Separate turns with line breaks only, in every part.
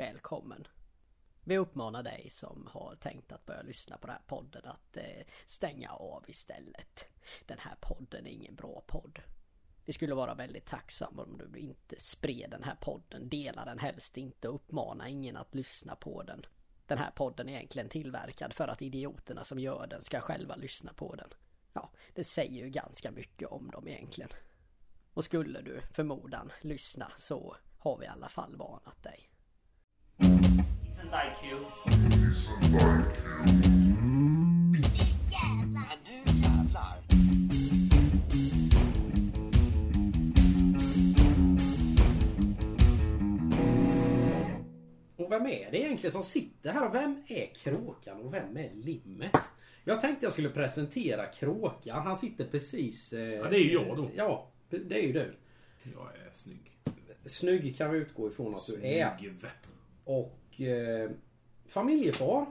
välkommen. Vi uppmanar dig som har tänkt att börja lyssna på den här podden att eh, stänga av istället. Den här podden är ingen bra podd. Vi skulle vara väldigt tacksamma om du inte spred den här podden, dela den helst inte och uppmana ingen att lyssna på den. Den här podden är egentligen tillverkad för att idioterna som gör den ska själva lyssna på den. Ja, det säger ju ganska mycket om dem egentligen. Och skulle du förmodan lyssna så har vi i alla fall varnat dig.
Isn't I cute?
Men nu jävlar!
Och vem är det egentligen som sitter här? Och Vem är kråkan och vem är limmet? Jag tänkte jag skulle presentera kråkan. Han sitter precis... eh,
Ja, det är ju jag då.
Ja, det är ju du.
Jag är snygg.
Snygg kan vi utgå ifrån att du är.
Snygg.
Och eh, familjefar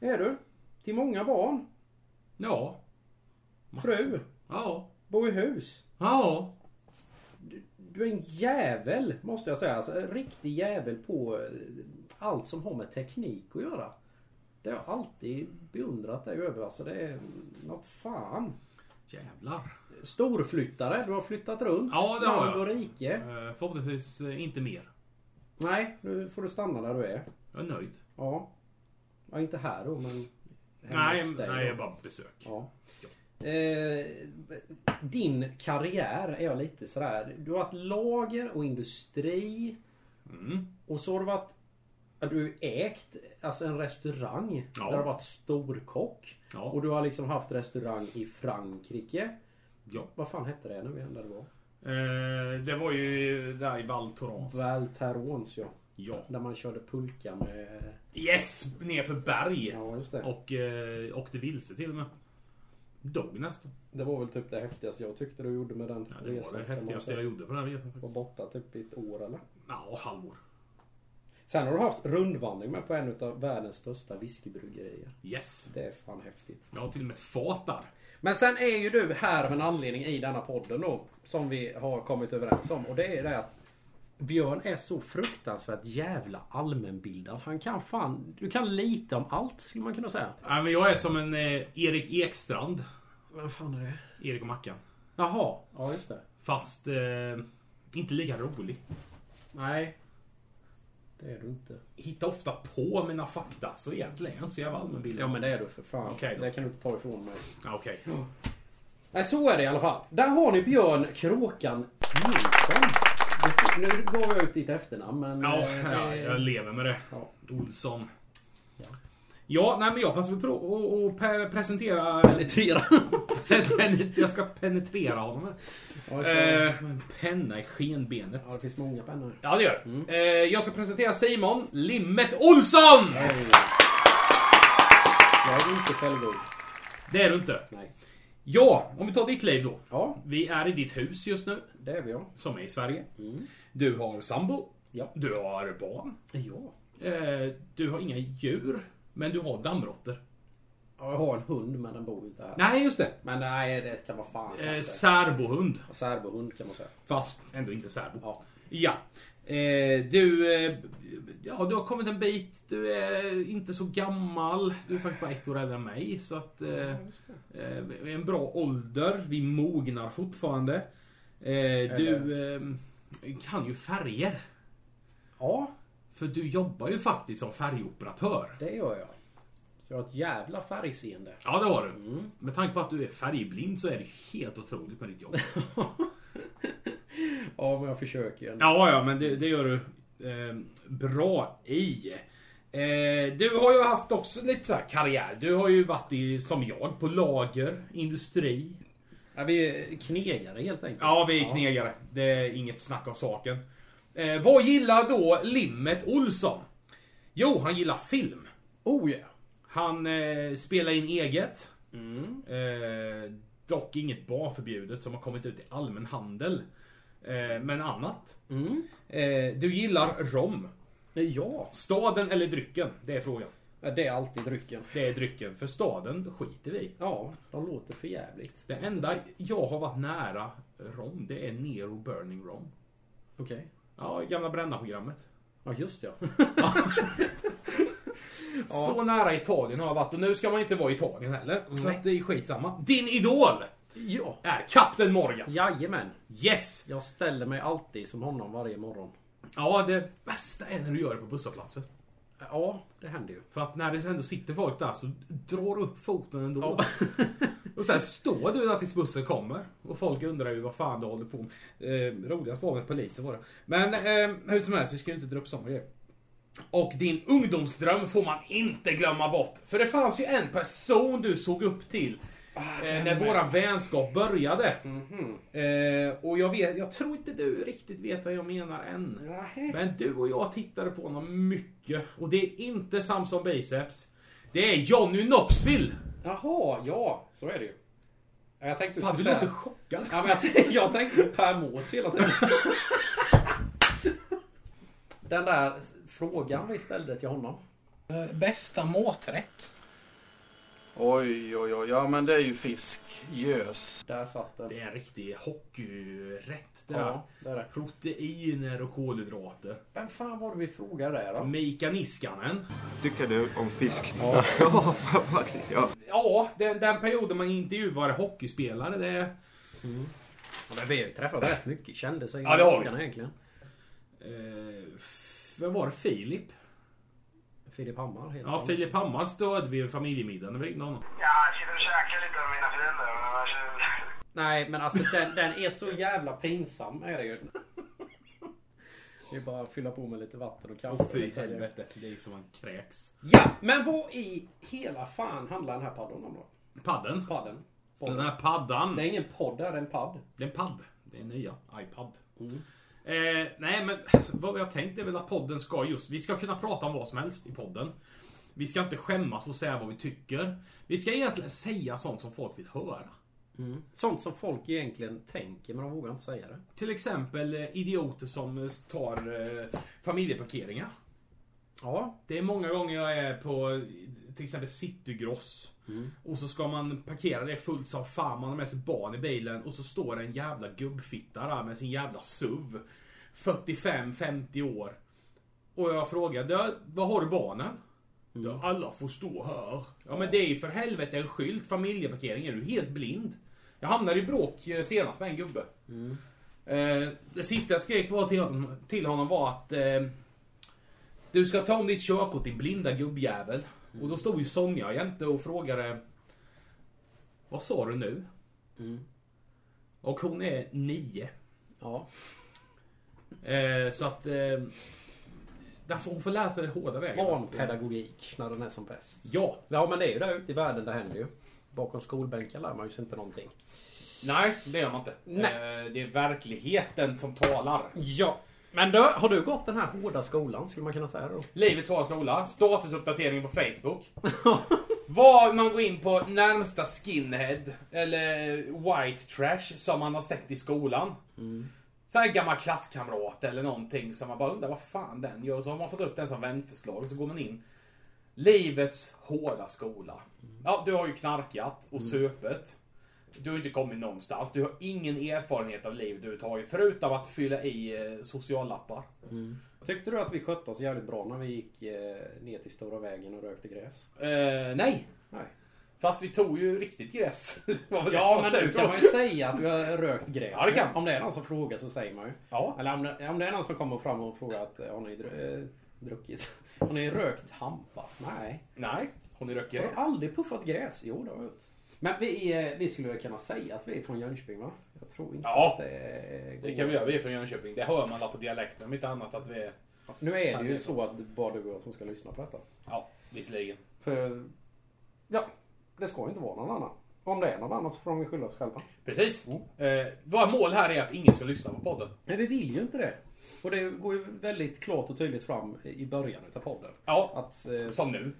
är du. Till många barn.
Ja.
Fru.
Ja.
Bor i hus.
Ja.
Du är en jävel måste jag säga. Alltså, en riktig jävel på eh, allt som har med teknik att göra. Det har jag alltid beundrat dig över. Alltså, det är något fan.
Jävlar.
Storflyttare. Du har flyttat runt.
Ja, det har
Land
jag.
och rike.
Eh, Förhoppningsvis eh, inte mer.
Nej, nu får du stanna där du är.
Jag är nöjd.
Ja. Ja, inte här då, men... hemma
Nej,
hos dig
nej,
då.
jag bara besök.
Ja. Eh, din karriär är jag lite sådär. Du har varit lager och industri.
Mm.
Och så har du varit... Du har ju ägt alltså en restaurang.
Ja.
Där du har varit storkock.
Ja.
Och du har liksom haft restaurang i Frankrike.
Ja.
Vad fan hette det nu igen där det var?
Eh, Det var ju där i Val Thorens.
Val Thorens ja.
Ja.
Där man körde pulka med...
Yes! Nerför berg.
Ja just det.
Och eh, åkte vilse till och med. Dog nästan.
Det var väl typ det häftigaste jag tyckte du gjorde med den
Ja, det var det
kan man
häftigaste
säga.
jag gjorde på den här resan
Var
faktiskt.
borta typ i ett år eller?
Ja, halvår.
Sen har du haft rundvandring med på en av världens största whiskybryggerier.
Yes.
Det är fan häftigt.
Jag har till och med ett fat där.
Men sen är ju du här av en anledning i denna podden då. Som vi har kommit överens om. Och det är det att Björn är så fruktansvärt jävla allmänbildad. Han kan fan... Du kan lite om allt skulle man kunna säga.
Nej, men jag är som en eh, Erik Ekstrand.
Vem fan är det?
Erik och Mackan.
Jaha. Ja just det.
Fast eh, inte lika rolig.
Nej. Det är du inte.
Hittar ofta på mina fakta, så egentligen är jag inte så jävla allmänbildad.
Ja men det är du för fan.
Okej då.
det kan du inte ta ifrån mig.
Ja, Okej.
Nej, så är det i alla fall. Där har ni Björn Kråkan Nilsson. Det fick- Nu gav jag ut ditt efternamn, men...
Ja,
eh,
ja, jag lever med det.
Ja.
Olsson. Ja, nej men jag passar väl på och, och pe- presentera... Penetrera. jag ska penetrera honom.
Ja, så-
Eh, en penna i skenbenet.
ja, det finns många pennor.
Ja, det gör mm. eh, Jag ska presentera Simon Limmet Olsson!
Nej. Eh. Jag är inte självgod.
Det är du inte.
Nej.
Ja, om vi tar ditt liv då.
Ja,
Vi är i ditt hus just nu,
det är vi ja.
som är i Sverige.
Mm.
Du har sambo.
Ja.
Du har barn.
Ja.
Eh, du har inga djur, men du har dammråttor.
Ja, Jag har en hund, men den bor ju inte här.
Nej, just det.
Men nej, det kan man fan
Eh,
inte.
särbohund.
Serbohund kan man säga.
Fast ändå inte särbo.
Ja.
Ja. Eh, du, eh, ja, du har kommit en bit. Du är inte så gammal. Du är faktiskt bara ett år äldre än mig. Så att... Eh, eh, vi är en bra ålder. Vi mognar fortfarande. Eh, du eh, kan ju färger.
Ja,
För du jobbar ju faktiskt som färgoperatör.
det gör jag. Så jag har ett jävla färgseende.
Ja, det har du. Med tanke på att du är färgblind så är det helt otroligt med ditt jobb.
Ja, men jag försöker ju. ändå.
Ja, ja, men det, det gör du eh, bra i. Eh, du har ju haft också lite så här karriär. Du har ju varit i, som jag, på lager, industri.
Ja, vi är knegare helt enkelt.
Ja, vi är knegare. Det är inget snack om saken. Eh, vad gillar då Limmet Olsson? Jo, han gillar film.
Oh yeah.
Han eh, spelar in eget. Eh, dock inget barförbjudet som har kommit ut i allmän handel. Eh, men annat.
Mm.
Eh, du gillar rom.
Ja.
Staden eller drycken? Det är frågan.
Ja, Det är alltid drycken.
Det är drycken, för staden skiter vi i.
Ja, de låter för jävligt.
Det enda jag har varit nära rom, det är Nero Burning Rom.
Okej.
Ja, gamla Bränna-programmet.
Ja just ja.
Så nära Italien har jag varit och nu ska man inte vara i Italien heller. Så att det är skitsamma. Din idol
ja.
är Kapten Morgan.
Jajamän.
Yes!
Jag ställer mig alltid som honom varje morgon.
Ja, det bästa är när du gör det på busshållplatsen.
Ja, det händer ju.
För att när det ändå sitter folk där så drar du upp foten ändå. och sen står du där tills bussen kommer. Och folk undrar ju vad fan du håller på med. Eh, roligast var med polisen var det. Men eh, hur som helst, vi ska ju inte dra upp såna grejer. Och din ungdomsdröm får man inte glömma bort. För det fanns ju en person du såg upp till. Eh, när våran vänskap började. Eh, och jag, vet, jag tror inte du riktigt vet vad jag menar än. Men du och jag tittade på honom mycket. Och det är inte Samson Biceps. Det är Johnny Knoxville!
Jaha, ja. Så är det ju. Ja, Jag tänkte
Fan, du
skulle
låter
säga-
chockad.
Ja, men jag, tänkte- jag tänkte på Per Mårts hela tiden. Den där frågan vi ställde till honom.
Eh, Bästa maträtt?
Oj, oj, oj. Ja, men det är ju fisk. Gös.
Där satt den.
Det är en riktig hockeyrätt det där.
Ja, där är det.
Proteiner och kolhydrater.
Vem fan var det vi frågade där då?
Mika Niskanen.
Tycker du om fisk?
Ja.
ja faktiskt. Ja.
Ja, den, den perioden man intervjuade hockeyspelare. Det,
Men vi har ju träffat rätt mycket kändisar
Ja, det har vi.
frågan egentligen.
eh, f- vem var det? Filip?
Filip Hammar. heter
Ja,
han.
Filip Hammar stödde vid en familjemiddag när vi ringde honom.
Ja, jag sitter och käkar lite med mina föräldrar. Men annars...
Nej, men alltså den, den är så jävla pinsam är det ju. Det är bara att fylla på med lite vatten och kaffe.
Åh fy helvete. Det gick som man kräks.
Ja, men vad i hela fan handlar den här paddan om då?
Padden.
Padden? Podden.
Den här paddan.
Det är ingen podd, det är en padd.
Det är en padd. Det är nya. iPad. Eh, nej men vad jag tänkt är väl att podden ska just, vi ska kunna prata om vad som helst i podden. Vi ska inte skämmas och säga vad vi tycker. Vi ska egentligen säga sånt som folk vill höra.
Sånt som folk egentligen tänker men de vågar inte säga det.
Till exempel eh, idioter som eh, tar eh, familjeparkeringar.
Ja.
Det är många gånger jag är på eh, till exempel Citygross. Och så ska man parkera det fullt som fan. Man har med sig barn i bilen och så står det en jävla gubbfitta där med sin jävla SUV. 45-50 år. Och jag frågar, "Du, vad har du barnen? "Ja, Alla får stå här. Ja men det är ju för helvete en skylt. Familjeparkering, är du helt blind? Jag hamnade i bråk eh, senast med en gubbe. Eh, det sista jag skrek var till, honom- till honom var att eh, du ska ta om ditt körkort din blinda gubbjävel. Och då stod ju Sonja jämte och frågade Vad sa du nu? Mm. Och hon är nio.
Ja.
Eh, så att eh, där får hon får läsa det hårda vägen.
Barnpedagogik när den är som bäst.
Ja.
Ja men det är ju där ute i världen det händer ju. Bakom skolbänkar lär man ju sig inte någonting.
Nej, det gör man inte.
Nej.
Eh, det är verkligheten som talar.
Ja. Men du, har du gått den här hårda skolan skulle man kunna säga då?
Livets hårda skola. Statusuppdatering på Facebook. Vad man går in på närmsta skinhead eller white trash som man har sett i skolan. Så här gammal klasskamrat eller någonting som man bara undrar vad fan den gör. Så har man fått upp den som vänförslag och så går man in. Livets hårda skola. Ja, du har ju knarkat och supit. Du har inte kommit någonstans. Du har ingen erfarenhet av liv du har förutom att fylla i eh, sociallappar.
Tyckte du att vi skötte oss jävligt bra när vi gick eh, ner till stora vägen och rökte gräs?
Eh, nej,
Nej.
Fast vi tog ju riktigt gräs. Det var väl
Ja
det
men
som
nu
tur
kan
var.
man ju säga att vi har rökt gräs.
Ja, det kan man.
Om det är någon som frågar så säger man ju.
Ja.
Eller om det, om det är någon som kommer fram och frågar att eh, har ni dr- eh, druckit? Har ni rökt hampa? Nej.
Nej, har ni rökt gräs?
Jag har aldrig puffat gräs. Jo det har jag gjort. Men vi, är, vi skulle kunna säga att vi är från Jönköping va? Jag tror inte
Ja.
att det går.
Det kan vi göra. Vi är från Jönköping. Det hör man där på dialekten. Om inte annat att vi är...
Nu är det ju så att det bara du och jag som ska lyssna på detta.
Ja, visserligen.
För ja, det ska ju inte vara någon annan. Om det är någon annan så får de ju skylla sig själva.
Precis. Eh, våra mål här är att ingen ska lyssna på podden.
Nej vi vill ju inte det. Och det går ju väldigt klart och tydligt fram i början utav podden.
Ja,
Att, eh,
som nu.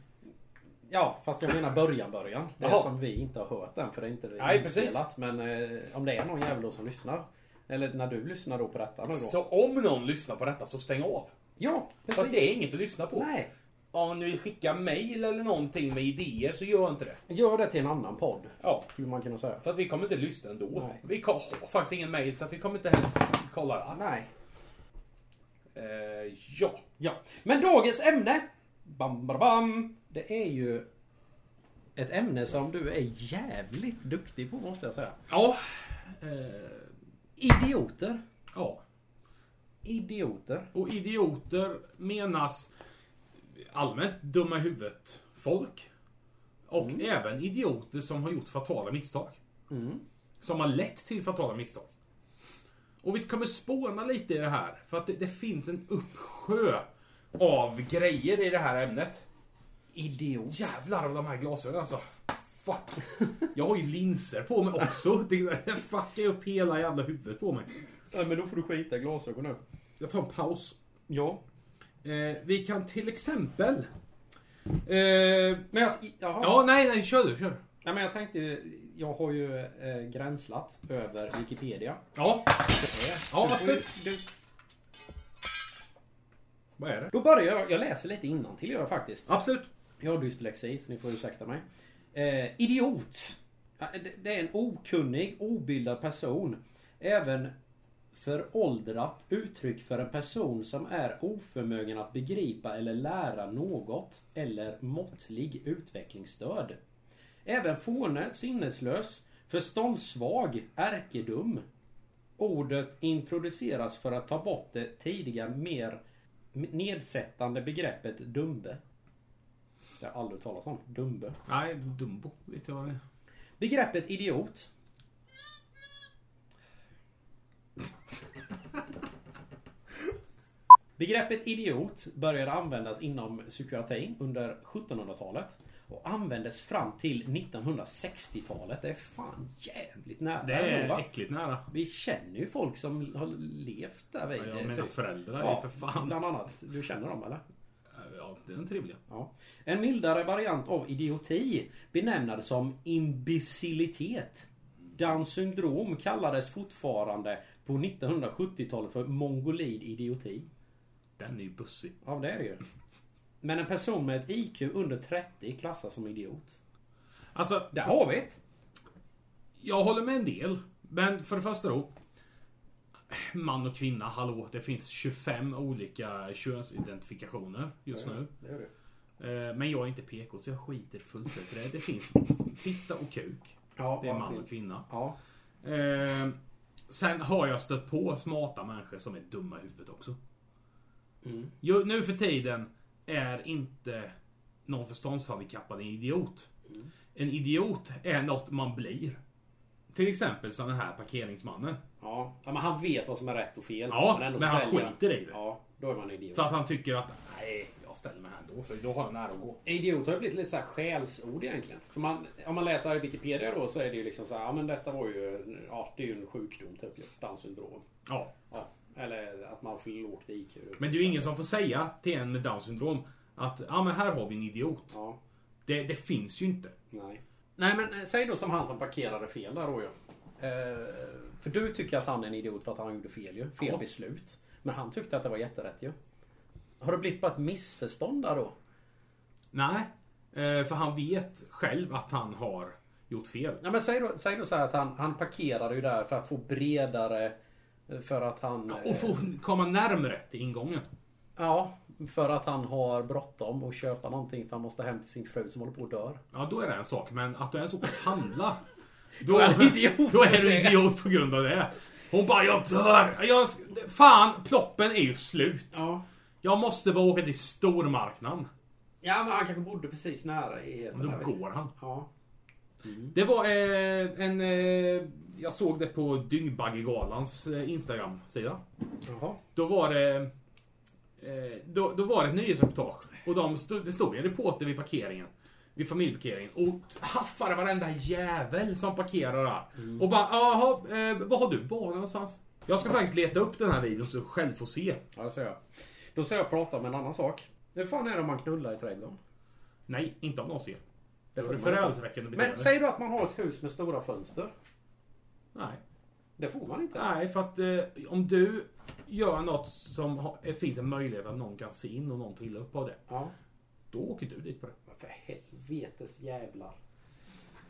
ja, fast jag menar början början. Det
Jaha.
som vi inte har hört än för det är inte
Nej, precis.
inspelat. Men eh, om det är någon jävel då som lyssnar. Eller när du lyssnar då på detta nu då.
Så om någon lyssnar på detta så stäng av.
ja,
För
precis.
att det är inget att lyssna på.
Nej,
Om ni vill skicka mail eller någonting med idéer så gör inte det.
gör det till en annan podd.
Ja,
Skulle man kunna säga.
för att vi kommer inte lyssna ändå.
Nej.
Vi har faktiskt ingen mail så att vi kommer inte ens kolla det.
Nej.
Eh, ja.
Ja, men dagens ämne. Bam, bam, bam, det är ju ett ämne som du är jävligt duktig på måste jag säga.
Ja. Eh,
Idioter.
ja.
Idioter.
Och idioter menas allmänt dumma i huvudet folk. Och även idioter som har gjort fatala misstag. Som har lett till fatala misstag. Och vi kommer spåna lite i det här. För att det, det finns en uppsjö av grejer i det här ämnet.
Idiot.
Jävlar av de här glasögonen alltså. Fuck. Jag har ju linser på mig också. Det fuckar ju upp hela jävla huvudet på mig.
Nej men då får du skita i glasögonen.
Jag tar en paus.
Ja.
Eh, vi kan till exempel... Eh,
Men jag, jaha.
ja, nej, nej, kör du, kör du.
Nej men jag tänkte ju- jag har ju eh, gränslat över Wikipedia.
Ja. Ja,
Du får ju-
absolut.
du,
Vad är det?
då börjar jag, jag läser lite innantill gör jag faktiskt.
Absolut.
Jag har dyslexi så ni får ursäkta mig. Eh, idiot. Ja, det- Det är en okunnig, obildad person. Även föråldrat uttryck för en person som är oförmögen att begripa eller lära något eller måttlig utvecklingsstöd. Även fåne, sinneslös, förståndssvag, ärkedum. Ordet introduceras för att ta bort det tidiga mer nedsättande begreppet dumbe. Det har jag aldrig talat om. Dumbe.
Nej, Dumbo vet jag vad det är.
Begreppet idiot. Begreppet idiot började användas inom psykiatrin under 1700-talet och användes fram till 1960-talet. Det är fan jävligt nära.
Det är
ändå, va?
äckligt nära.
Vi känner ju folk som har levt där vid
Ja,
det,
mina
typ.
föräldrar är
Ja,
för fan...
Bland annat. Du känner dem eller?
Ja, det är en trevlig.
Ja. En mildare variant av idioti benämnades som imbecilitet. Downs syndrom kallades fortfarande på 1970-talet för mongolid idioti.
Den är ju bussig.
Ja, det är det ju. Men en person med ett IQ under 30 klassas som idiot.
Alltså,
Där har vi det!
jag håller med en del. Men för det första då. Man och kvinna, hallå. Det finns 25 olika könsidentifikationer just nu.
Det är det.
Eh, Men jag är inte PK så jag skiter fullständigt i det. Det finns fitta och kuk.
Ja,
Det är
ja,
man
skit.
och kvinna.
Ja.
Eh, sen har jag stött på smarta människor som är dumma i huvudet också.
Mm.
Jo, nu för tiden är inte någon förståndshandikappad en idiot. En idiot är något man blir. Till exempel som den här parkeringsmannen.
Ja. ja, men han vet vad som är rätt och fel.
Ja,
ändå
men han
sväljer
skiter i det.
Ja, då är man idiot.
För att han tycker att nej, jag ställer mig här ändå för då har jag nära att gå.
Idiot har ju blivit lite så här skällsord egentligen. För man, om man läser i Wikipedia då så är det ju liksom så här, ja men detta var ju, ja det är ju en sjukdom typ, ju, Downs syndrom.
Ja.
Ja, eller att man har för lågt IQ.
Men det är ju ingen som får säga till en med Downs syndrom att ja men här har vi en idiot.
Ja,
Det, det finns ju inte.
nej. Nej men eh, säg då som han som parkerade fel där då ju. Eh, för du tycker att han är en idiot för att han gjorde fel ju. Fel
Ja.
beslut. Men han tyckte att det var jätterätt ju. Har det blivit bara ett missförstånd där då?
Nej. eh, För han vet själv att han har gjort fel.
Ja, men säg, då, säg då så här att han, han parkerade ju där för att få bredare... eh, För att han...
Och få komma närmre till ingången.
Ja, för att han har bråttom och köpa någonting för han måste hem till sin fru som håller på och dör.
Ja, då är det en sak. Men att du ens åker handla.
Då
Då
är du idiot.
Då är du idiot på grund av det. Hon bara, jag dör! Jag, fan, ploppen är ju slut.
Ja.
Jag måste bara åka till stormarknaden.
Ja, men han kanske bodde precis nära i...
Men Då går han.
Ja.
Det var eh, en... Eh, jag såg det på Dyngbaggegalans eh, Instagram-sida.
Jaha.
Då var det... Eh, då, då var det ett nyhetsreportage. Och de stod, det stod en reporter vid parkeringen. Vid familjeparkeringen. Och haffade varenda jävel som parkerar där.
Mm.
Och bara, jaha, eh, vad har du barn någonstans? Jag ska faktiskt leta upp den här videon så du själv får se.
Ja, det ser jag. Då ska jag prata om en annan sak. Hur fan är det om man knullar i trädgården?
Nej, inte om någon ser.
får
Det är
man inte.
förödelseväckande
Men
beteende.
säg då att man har ett hus med stora fönster.
Nej.
Det får man inte.
Nej, för att eh, om du gör något som ha, eh, finns en möjlighet att någon kan se in och någon tar illa upp av det.
Ja.
Då åker du dit på det.
Men För helvetes jävlar.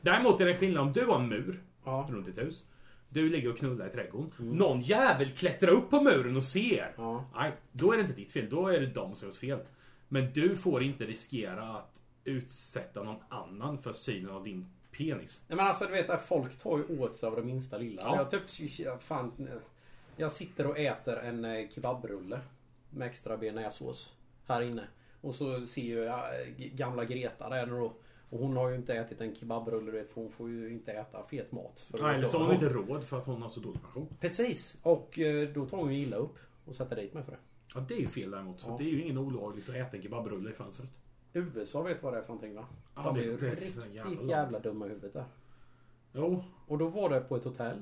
Däremot är det skillnad om du har en mur
Ja.
runt ditt hus. Du ligger och knullar i trädgården. Någon jävel klättrar upp på muren och ser.
Mm. Ja.
Nej, då är det inte ditt fel. Då är det de som gjort fel. Men du får inte riskera att utsätta någon annan för synen av din penis.
Nej men alltså du vet att folk tar ju åt sig av det minsta lilla.
Ja.
Jag typ, jag- fan. eh, Jag sitter och äter en eh, kebabrulle. Med extra bearnaisesås. Här inne. Och så ser jag eh, g- gamla Greta där då. Och hon har ju inte ätit en kebabrulle du vet, för hon får ju inte äta fet mat. För
Nej, eller så har hon
hon
inte råd för att hon har så dålig pension.
Precis! Och eh, då tar hon ju illa upp. Och sätter dit mig för det.
Ja, det är ju fel däremot. För
Ja.
Det är ju ingen olagligt att äta en kebabrulle i fönstret.
USA vet vad det är för någonting va?
Ja,
De är
det-
ju
det är så
riktigt
jävla
jävla,
långt.
dumma i huvudet där.
Jo,
Och då var det på ett hotell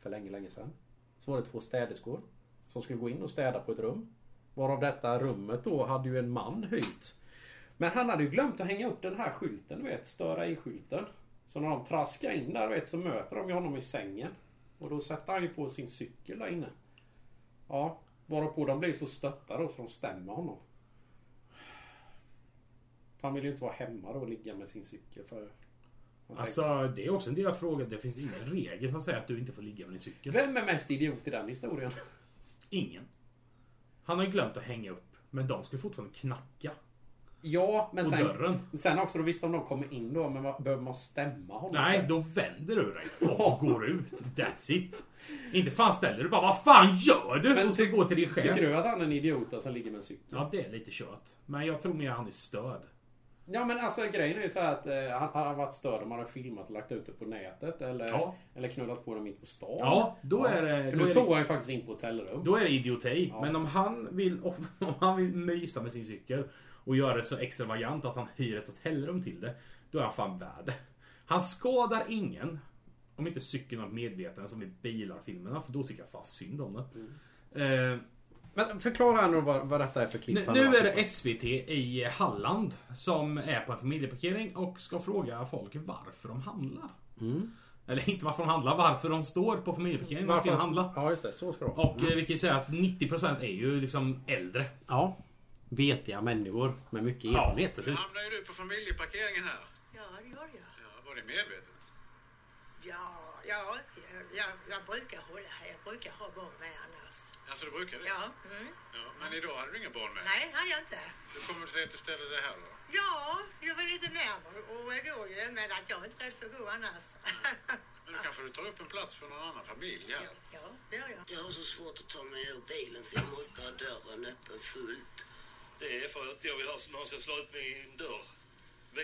för länge, länge sedan. Så var det två städerskor som skulle gå in och städa på ett rum. Varav detta rummet då hade ju en man hyrt. Men han hade ju glömt att hänga upp den här skylten, du vet. Störa i skylten. Så när de traskar in där, du vet, så möter de ju honom i sängen. Och då sätter han ju på sin cykel där inne. Ja, varpå de blir så stötta då så de stämmer honom. För han vill ju inte vara hemma då och ligga med sin cykel för...
alltså det är också en del av frågan. Det finns ingen regel som säger att du inte får ligga med din cykel.
Vem är mest idiot i den historien?
Ingen. Han har ju glömt att hänga upp. Men de skulle fortfarande knacka.
Ja, men
Och
sen,
dörren.
sen också då visst om de kommer in då, men vad- behöver man stämma honom?
Nej, då vänder du dig och går ut. That's it. Inte fan ställer du bara Vad fan gör du?
Men
och så
ty-
går till din chef.
Tycker du att han är en idiot då, som ligger med en cykel?
Ja, det är lite kört. Men jag tror mer han är störd.
Ja men alltså grejen är ju så här att eh, han, han har varit störd om han har filmat och lagt ut det på nätet eller,
Ja.
eller knullat på dem mitt på stan.
Ja, då är det-
För
då
då
är
tog
det-
han ju faktiskt in på hotellrum.
Då är det idioti.
Ja.
Men om han, vill, om han vill mysa med sin cykel och göra det så extravagant att han hyr ett hotellrum till det. Då är han fan värd det. Han skadar ingen. Om inte cykeln har medvetande som i bilarfilmerna. För då tycker jag fan synd om det.
Mm.
Eh,
Men förklara här nu vad, vad detta är för klipp.
Nu,
han
nu
har
är det
klippt.
SVT i Halland som är på en familjeparkering och ska fråga folk varför de handlar. Eller inte varför de handlar, varför de står på familjeparkeringen och ska
Varför-
handla.
Ja just det, så ska det vara.
Och eh, vi kan ju säga att 90% är ju liksom äldre.
Ja. Vetiga människor med mycket
Ja,
erfarenhet.
Hamnar ju du på familjeparkeringen här.
Ja, det gör jag.
Ja, var det medvetet?
Ja, ja, jag, jag brukar hålla här. Jag brukar ha barn med annars.
Alltså du brukar det?
Ja, mm.
Ja, men idag hade du inga barn med?
nej, det har jag inte.
Hur kommer det sig att du ställer dig här då?
Ja, jag var lite närmare och jag går ju, men att jag är inte rädd för att gå annars.
Men då kanske du tar upp en plats för någon annan familj här?
ja, det gör jag.
Jag har så svårt att ta mig ur bilen så jag måste ha dörren öppen fullt. Det är för att jag vill ha någon som slår ut min dörr.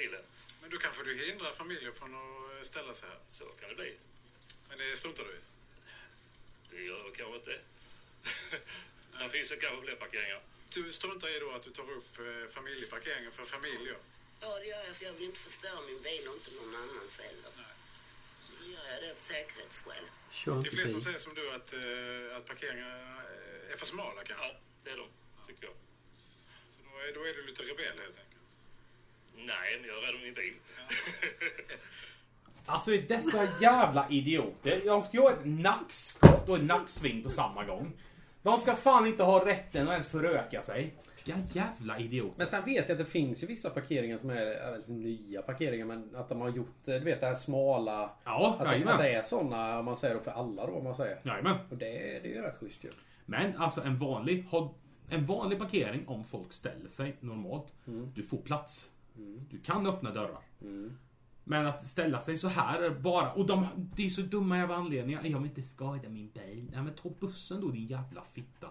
Bilen.
Men då kanske du hindrar familjer från att eh, ställa sig här?
Så kan det bli.
Men det struntar du i?
Det gör jag kanske inte. Där finns det kanske fler parkeringar.
Du struntar i då att du tar upp eh, familjeparkeringen för familjer?
Ja, det gör jag för jag vill inte förstöra min bil och inte någon annans heller. Så då gör jag det av säkerhetsskäl.
Kör
Det
inte
är fler som
bil.
säger som du att, eh, att parkeringarna eh, är för smala kanske?
Ja, det är de, tycker jag.
Så då, är, då är du lite rebell helt enkelt?
Nej, men jag är rädd om min bil.
Alltså det är dessa jävla idioter. Jag ska göra ett nackskott och ett nacksving på samma gång. De ska fan inte ha rätten att ens föröka sig. Ja, jävla idioter.
Men sen vet jag att det finns ju vissa parkeringar som är eh, väldigt nya parkeringar men att de har gjort eh, du vet det här smala.
Ja,
att, de,
jajamän. Mm.
att det är såna om man säger då för alla då om man säger.
Jajamän.
Och det, det är ju rätt schysst ju.
Men alltså en vanlig, ha- en vanlig parkering om folk ställer sig normalt. Du får plats. Du kan öppna dörrar. Men att ställa sig så här är bara... Och de, det är så dumma jävla anledningar. Jag vill inte skada min bil. Nej men ta bussen då din jävla fitta.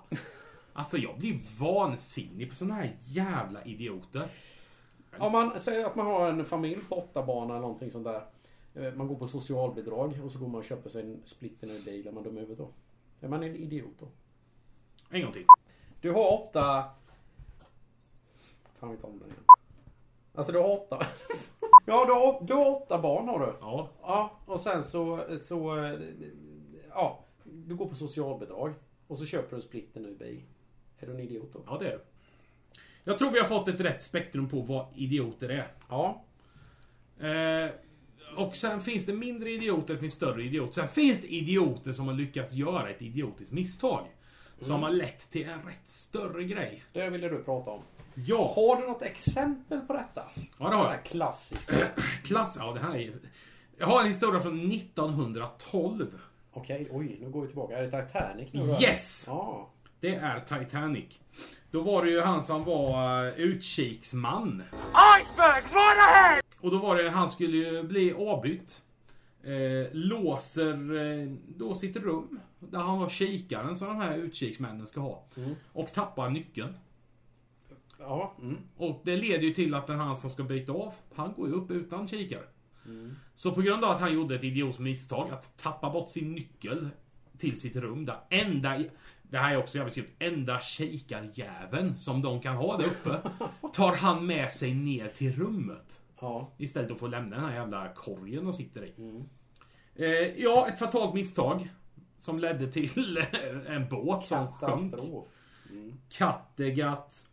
alltså jag blir vansinnig på såna här jävla idioter.
Om man säger att man har en familj på åtta barn eller någonting sånt där. Eh, Man går på socialbidrag och så går man och köper sig en splitten ur bil om man är dum i huvudet då. Är man en idiot då?
En gång till.
Du har åtta... Fan vi tar om den igen. Alltså du har åtta... ja du har, du har åtta barn har du.
Ja.
Ja, och sen så... så eh, ja, du går på socialbidrag. Och så köper du en splitten ur bil. Är du en idiot då?
Ja det är det. Jag tror vi har fått ett rätt spektrum på vad idioter är.
Ja.
Eh, och sen finns det mindre idioter, det finns större idioter. Sen finns det idioter som har lyckats göra ett idiotiskt misstag.
Mm.
Som har lett till en rätt större grej.
Det ville du prata om.
Ja,
Har du något exempel på detta?
ja det har
Den
jag.
här klassiska.
Klass, ja det här är Jag har en historia från 1912.
Okej, oj, nu går vi tillbaka. Är det Titanic nu då?
Yes!
Ja.
Det är Titanic. Då var det ju han som var eh, utkiksman.
Iceberg, right ahead!
Och då var det, han skulle ju bli avbytt. Eh, låser eh, då sitt rum. Där han har kikaren som de här utkiksmännen ska ha. Och tappar nyckeln.
Ja. mm,
Och det leder ju till att den han som ska byta av, han går ju upp utan kikare. Så på grund av att han gjorde ett idiotiskt misstag att tappa bort sin nyckel till sitt rum där enda... Det här är också jävligt skumt. Enda kikarjäveln som de kan ha där uppe tar han med sig ner till rummet. Istället för att få lämna den här jävla korgen de sitter i. Eh, ja, ett fatalt misstag. Som ledde till en båt som sjönk.
Katastrof.
Kattegatt.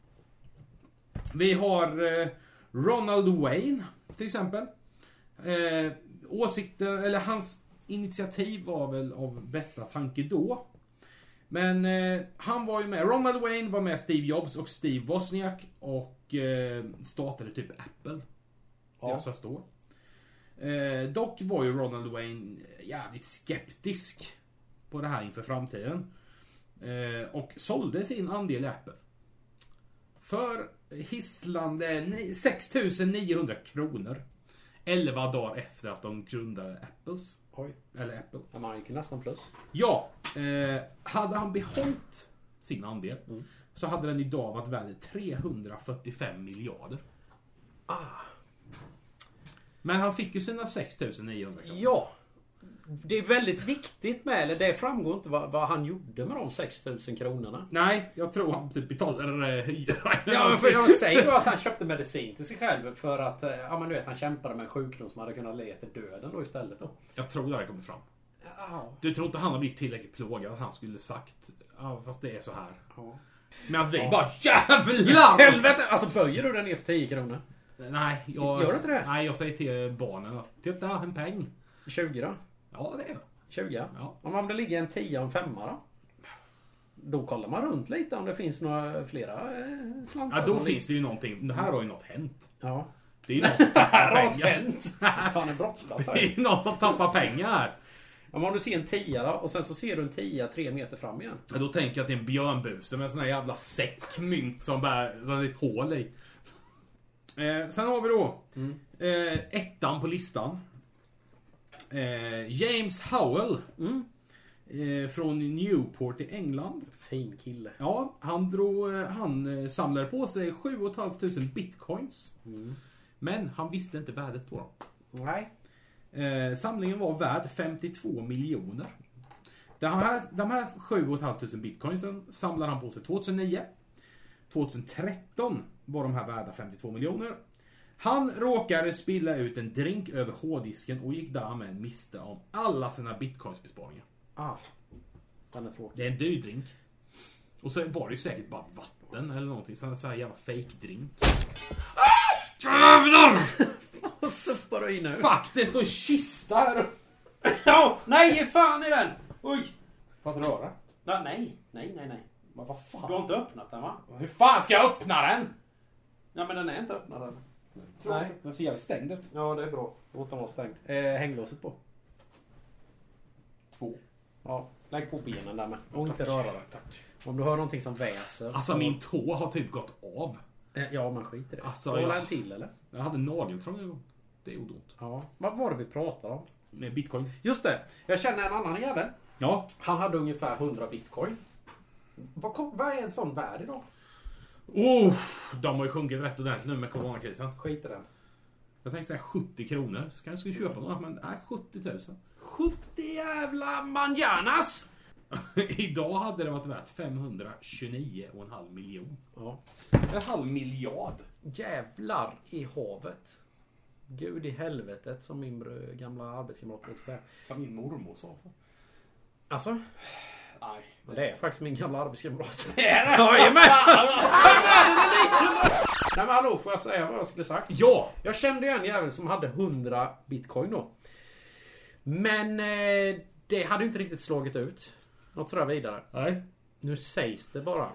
Vi har eh, Ronald Wayne till exempel. Eh, åsikter, eller hans initiativ var väl av bästa tanke då. Men eh, han var ju med. Ronald Wayne var med Steve Jobs och Steve Wozniak och eh, startade typ Apple.
Ja.
Deras första år. Eh, dock var ju Ronald Wayne jävligt skeptisk på det här inför framtiden. Eh, och sålde sin andel i Apple. För hisslande ni- 6900 kronor. 11 dagar efter att de grundade Apples.
Oj.
Eller Apple.
Ja, man gick ju nästan plus.
Ja, eh, hade han behållit sin andel så hade den idag varit värd 345 miljarder. Men han fick ju sina 6900 kronor.
Ja. Det är väldigt viktigt med, eller det framgår inte vad, vad han gjorde med de 6000 kronorna.
Nej, jag tror han typ betalade eh, hyra.
Ja, men för jag säger då att han köpte medicin till sig själv för att, eh, ja men du vet, han kämpade med en sjukdom som hade kunnat leda till döden då istället då.
Jag tror det här kommer fram. Du tror inte han har blivit tillräckligt plågad att han skulle sagt ja, fast det är så här.
Ja.
Medan vi
Ja.
bara jävlar!
Helvete! Alltså böjer du den ner för 10 kronor?
Nej, jag...
Gör du inte det?
Nej, jag säger till barnen att titta, en peng.
20 då?
Ja, det är det.
20?
Ja.
Om man ligger en 10 och en femma då? Då kollar man runt lite om det finns några flera eh, slantar.
Ja, då
som
finns det ju någonting. Det här har ju något hänt.
ligger- Ja.
Det är ju något som tappar
Mm. Här har något
pengar.
hänt! Fan en brottsplats
Det
här.
är ju något som tappar pengar.
Ja, men om du ser en tia då, och sen så ser du en tia tre meter fram igen.
Ja, då tänker jag att det är en björnbuse med en sån här jävla säck mynt som, bär, som det är ett hål i. Eh, sen har vi då
Mm.
eh, ettan på listan. Eh, James Howell.
Mm.
Eh, från Newport i England.
Fin kille.
Ja, han, drog, eh, han eh, samlade på sig 7 500 bitcoins.
Mm.
Men han visste inte värdet på dem.
Nej.
Eh, samlingen var värd 52 miljoner. De här, de här 7 500 bitcoinsen samlade han på sig 2009. 2013 var de här värda 52 miljoner. Han råkade spilla ut en drink över hårddisken och gick därmed miste om alla sina bitcoinsbesparingar.
Ah. Den är tråkig.
Det är en dyr drink. Och så var det ju säkert bara vatten eller någonting. Så så här jävla fake drink. Ah! Jävlar!
Vad stoppar du i nu?
Fuck, det står en kista här uppe.
Ja, nej, ge fan i den! Oj!
Får jag inte röra?
Ja, nej, nej, nej, nej.
Men vad
Du har
fan?
inte öppnat den va?
Hur fan ska jag öppna den?
Ja, men den är inte öppnad än.
Nej. Den ser jävligt stängd ut.
Ja, det är bra. Låt den vara stängd. Eh, hänglåset på.
Två.
Ja, lägg på benen där med. Och inte röra den.
Tack.
Om du hör någonting som väser.
Alltså
så-
min tå har typ gått av.
Eh, Ja, man skiter i det.
Alltså,
Hålla
ja.
en till eller?
Jag hade nageltrång en gång. Det gjorde ont.
Ja. Vad var det vi pratade om?
Med bitcoin.
Just det. Jag känner en annan jävel.
Ja.
Han hade ungefär 100 bitcoin. Vad, kom- vad är en sån värd idag?
Oh, de har ju sjunkit rätt ordentligt nu med coronakrisen.
Skit i den.
Jag tänkte säga 70 kronor. Så kanske jag skulle köpa några. Men nej, 70 000.
70 jävla manjanas!
Idag hade det varit värt 529,5 miljon.
Ja.
En halv miljard.
Jävlar i havet. Gud i helvetet som min br- gamla arbetskamrat brukar säga.
Som min mormor sa.
Alltså,
Nej.
det är faktiskt min gamla arbetskamrat. Jajamän! Nej men hallå, får jag säga vad jag skulle sagt?
Ja!
Jag kände ju en jävel som hade 100 bitcoin då. Men eh, det hade ju inte riktigt slagit ut. Något sådär vidare.
Nej.
Nu sägs det bara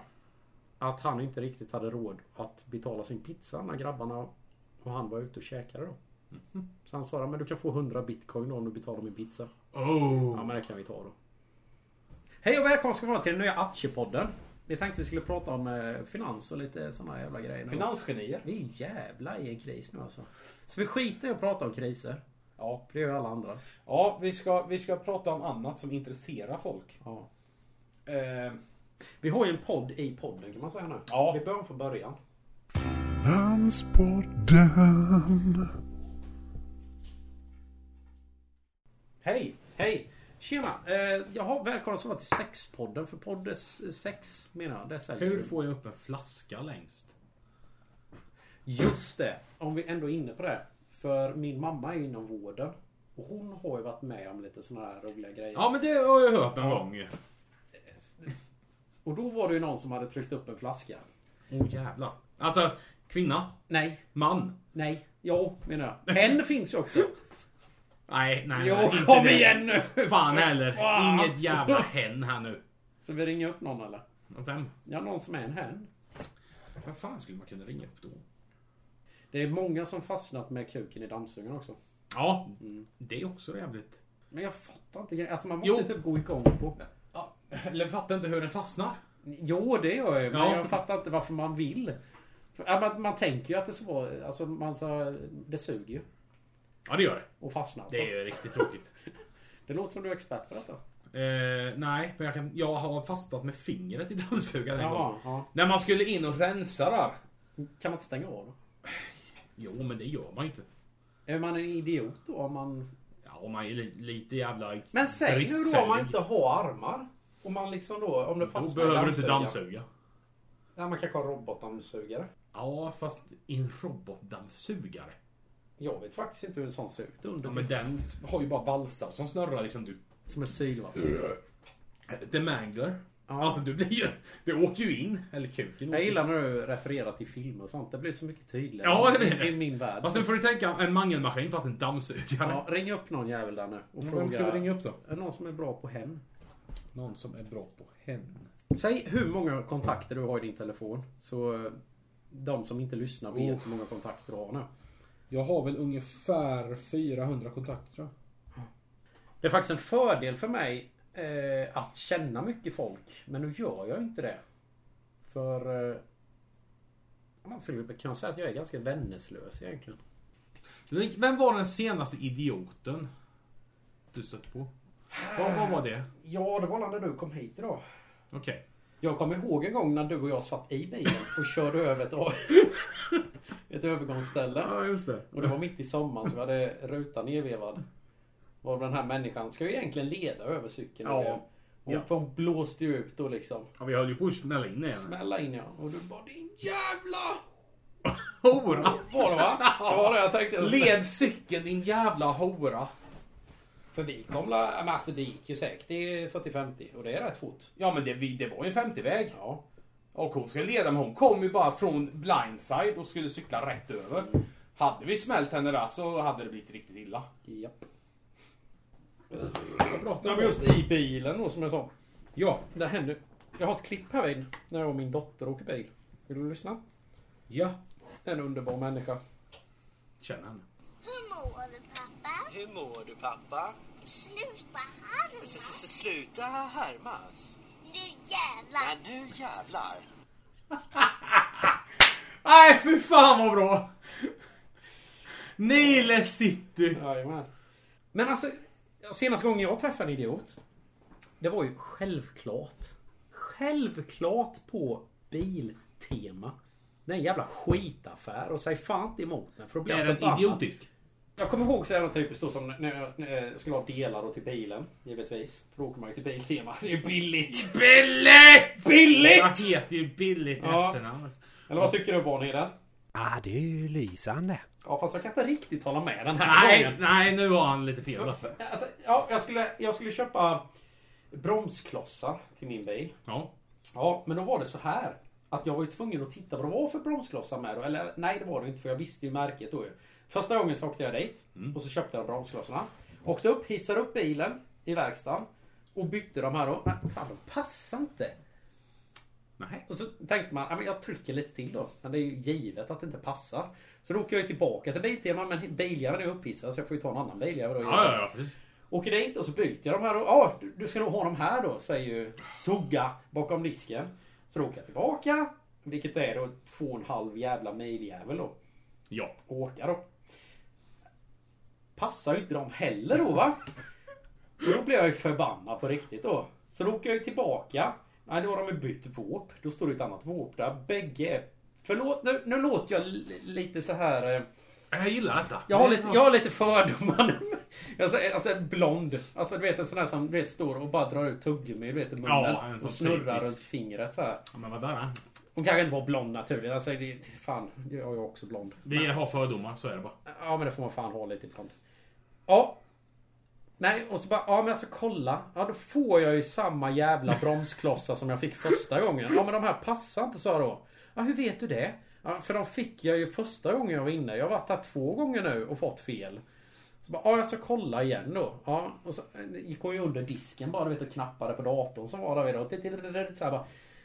att han inte riktigt hade råd att betala sin pizza när grabbarna
Mhm.
och han var ute och käkade då. Så han sa men du kan få 100 bitcoin då om du betalar min pizza. Ja men det kan vi ta då. Hej och välkomna ska vara till den nya aktiepodden. Vi tänkte vi skulle prata om eh, finans och lite sådana jävla grejer. nu.
Finansgenier.
Vi är jävla i en kris nu alltså. Så vi skiter i att prata om kriser.
Ja.
Det gör ju alla andra.
Ja, vi ska, vi ska prata om annat som intresserar folk.
Ja.
Eh,
Vi har ju en podd i podden kan man säga nu.
Ja.
Vi börjar från början.
Landspodden.
Hej! Hej! Tjena! Eh, jaha, välkomna så till sexpodden. För podd eh, sex menar jag. Det säljer
hur
vi.
får jag upp en flaska längst?
Just det! Om vi ändå är inne på det. För min mamma är ju inom vården. Och hon har ju varit med om lite sådana här roliga grejer.
Ja, men det har jag hört någon gång.
Och då var det ju någon som hade tryckt upp en flaska.
Åh oh, jävlar. Alltså, kvinna,
Nej,
man.
nej, ja menar jag. En finns ju också.
Nej, nej,
Jo,
nej. inte
kom
det.
igen nu!
Fan heller.
Fan.
Inget jävla hen här nu.
Så vi ringer upp någon eller?
Vem?
Ja, någon som är en hen.
Vad fan skulle man kunna ringa upp då?
Det är många som fastnat med kuken i dammsugaren också.
Ja,
Mm.
det är också jävligt.
Men jag fattar inte grejen. Alltså man
Jo.
måste ju typ gå igång på...
Ja, eller fattar inte hur den fastnar.
Jo, det gör jag ju, Men
Ja.
jag fattar inte varför man vill. Ja, Man, man tänker ju att det så var... Alltså man sa... Det suger ju.
Ja, det gör det.
Och fastnar.
Det är ju riktigt tråkigt.
det låter som du är expert på detta.
Eh, nej, men jag, kan, jag har fastnat med fingret i dammsugaren en gång.
Jaha, ja.
När man skulle in och rensa där.
Kan man inte stänga av då?
Jo, men det gör man ju inte.
Är man en idiot då om man...
Ja, man är ju li, lite jävla
Men säg nu då om
bristfällig.
man inte har armar. Om man liksom då... Om det fastnar
Då
i
behöver du inte
dammsugaren.
dammsuga.
Nej, man kanske har robotdammsugare.
Ja, fast i en robotdammsugare.
Jag vet faktiskt inte hur en sån ser ut under.
Ja, men den s- har ju bara valsar som snurrar liksom. Du,
Som en sylvass.
the mangler.
Ja.
Alltså du blir ju... Det åker ju in. Eller kuken
Jag
åker
gillar när du refererar till filmer och sånt. Det blir så mycket tydligare.
Ja, det blir det.
I min värld.
Fast nu får du tänka en mangelmaskin fast en dammsugare.
Ja, ring upp någon jävel där nu och
Men
fråga.
upp då?
Är det någon som är bra på hen?
Någon som är bra på hen.
Säg hur många kontakter du har i din telefon. Så eh, de som inte lyssnar vet hur många kontakter du har nu.
Jag har väl ungefär 400 kontakter tror jag.
Det är faktiskt en fördel för mig eh, att känna mycket folk. Men nu gör jag inte det. För... Eh, man skulle kunna säga att jag är ganska vänneslös egentligen.
Vilk- Vem var den senaste idioten du stötte på? Vad, vad var det?
Ja, det var när du kom hit idag.
Okej.
Jag kommer ihåg en gång när du och jag satt i bilen och körde över ett, ett övergångsställe.
just det.
Och det var mitt i sommaren så vi hade rutan nedvevad. Var den här människan ska ju egentligen leda över cykeln.
Ja.
Och det- Hon,
Ja.
för hon blåste ju ut då liksom.
Ja, vi höll ju på att smälla in igen.
Smälla in ja. Och du bara din jävla...
Hora!
Var det va? Det var det jag tänkte.
Led cykeln din jävla hora!
För vi kom la... Men alltså det gick ju säkert i 40-50 och det är rätt fort.
Ja men det, vi- det var ju en 50-väg.
Ja.
Och hon skulle leda men hon kom ju bara från blindside och skulle cykla rätt över. Hade vi smält henne där så hade det blivit riktigt illa.
Japp. Nej, men just i bilen då som jag sa.
Ja.
Det händer. Jag har ett klipp här vid när jag och min dotter åker bil. Vill du lyssna?
Ja.
En underbar människa.
Känner henne.
Hur mår du pappa?
Hur mår du pappa?
Sluta harma!
Sluta härmas.
Nu jävlar!
nu jävlar.
Nej fy fan vad bra! Nile city!
Jajamän. Men alltså, senaste gången jag träffade en idiot. Det var ju självklart. Självklart på Biltema. Det är en jävla skitaffär och säg fan inte emot mig för då blir jag förbannad. Jag kommer ihåg så jävla typiskt då som när jag, när jag skulle ha delar då till bilen. Givetvis. För då åker man ju till Biltema. Det är ju billigt.
Billigt!
Billigt!
Jag heter ju Billigt i
Ja.
efternamn.
Eller vad tycker du Bonnie?
Ah, det är lysande.
Ja fast jag kan inte riktigt hålla med den här
Nej,
gången.
nej nu har han lite fel. då.
Alltså, ja, jag, skulle, jag skulle köpa bromsklossar till min bil.
Ja.
Ja, men då var det så här. Att jag var ju tvungen att titta vad det var för bromsklossar med då. Eller nej, det var det inte för jag visste ju märket då ju. Första gången så åkte jag dit
Mm.
och så köpte jag bromsklossarna. Åkte upp, hissade upp bilen i verkstaden. Och bytte de här då. Nej, fan de passar inte.
Nej.
Och så tänkte man, ja, men jag trycker lite till då. Men det är ju givet att det inte passar. Så då åker jag ju tillbaka till Biltema men biljäveln är upphissad så jag får ju ta en annan biljävel då.
Ja, ja,
givetvis.
ja. precis.
Åker dit och så byter jag de här. Ja, ah, du, du ska nog ha de här då, säger ju Sugga bakom disken. Så då åker jag tillbaka. Vilket är då två och en halv jävla miljävel då.
Ja.
Åka då. Passar ju inte dem heller då va? Och Då blir jag ju förbannad på riktigt då. Så då åker jag ju tillbaka. Nej, då har de ju bytt våp. Då står det ett annat våp där. Bägge är- Förlåt, nu, nu låter jag li- lite så här... eh,
Jag gillar detta.
jag har lite, jag har lite fördomar. Alltså, alltså en blond. Alltså du vet en sån här som du vet, står och bara drar ut tuggummi du vet, i munnen.
Ja, en sån
och snurrar
typisk.
runt fingret så här.
Ja, men vad där är.
Hon kanske inte var blond naturligt. Alltså, det, fan, jag är ju också blond.
Vi har fördomar, så är det bara.
Ja men det får man fan ha lite ibland. Ja. Nej och så bara, ja men alltså kolla. Ja då får jag ju samma jävla bromsklossar som jag fick första gången. Ja men de här passar inte sa jag då. Ja hur vet du det? Ja, för de fick jag ju första gången jag var inne. Jag har varit här två gånger nu och fått fel. Så bara, ja jag ska kolla igen då. Ja, och så eh, gick hon ju under disken bara du vet och knappade på datorn som var där vid då. Så här bara.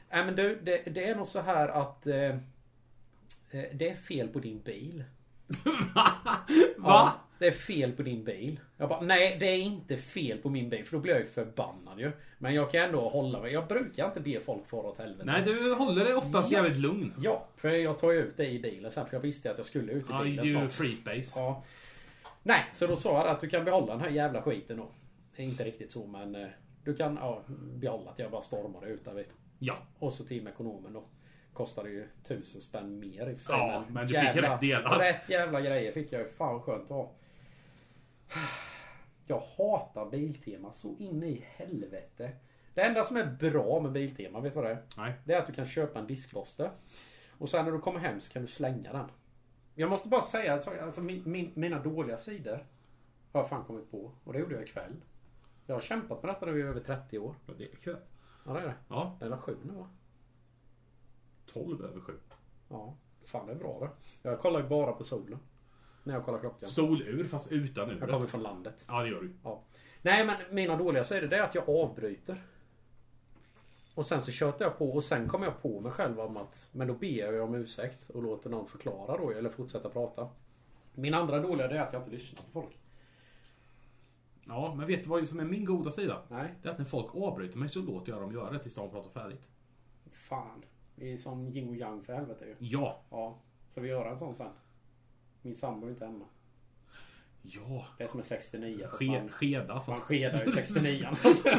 Nej men du, det, det är nog så här att eh, eh, det är fel på din bil. Ja, det är fel på din bil. Jag bara, nej det är inte fel på min bil för då blir jag ju förbannad ju. Men jag kan ändå hålla mig. Jag brukar inte be folk fara åt helvete.
Nej, du håller dig oftast
Ja.
jävligt lugn.
Ja, för jag tar ju ut det i bilen sen för jag visste att jag skulle ut i
Ja, det
bilen
är ju
snart.
free space.
Ja. Nej, så då sa jag att du kan behålla den här jävla skiten då. Det är Inte riktigt så men eh, du kan ja, behålla att jag bara stormar ut där vid.
Ja.
Och så till ekonomen då. Kostade ju tusen spänn mer i och för sig.
Ja, men du fick rätt delar.
Rätt jävla grejer fick jag ju. Fan vad skönt att ha. Jag hatar Biltema så in i helvete. Det enda som är bra med Biltema, vet du vad det är?
Nej.
Det är att du kan köpa en diskborste. Och sen när du kommer hem så kan du slänga den. Jag måste bara säga att alltså, min, min, mina dåliga sidor har jag fan kommit på. Och det gjorde jag ikväll. Jag har kämpat med detta nu i över 30 år.
Ja, Det är kul.
Ja det är det.
Ja.
Den är sju nu va?
12 över 7.
Ja. Fan det är bra det. Jag kollar ju bara på solen. När jag kollar klockan.
Solur, fast utan
Jag kommer
uret.
från landet.
Ja, det gör du.
Ja. Nej men mina dåliga sidor det är att jag avbryter. Och sen så tjötar jag på och sen kommer jag på mig själv om att Men då ber jag ju om ursäkt och låter någon förklara då eller fortsätta prata. Min andra dåliga det är att jag inte lyssnar på folk.
Ja, men vet du vad som är min goda sida?
Nej.
Det är att när folk avbryter mig så låter jag dem göra det tills de pratar färdigt.
Fan. Vi är som yin och yang för helvete ju.
Ja.
Ja. Ska vi göra en sån sen? Min sambo är inte hemma.
Ja.
Det är som en 69 för
Ske,
fan.
skeda,
Man
fast...
skedar ju 69 alltså.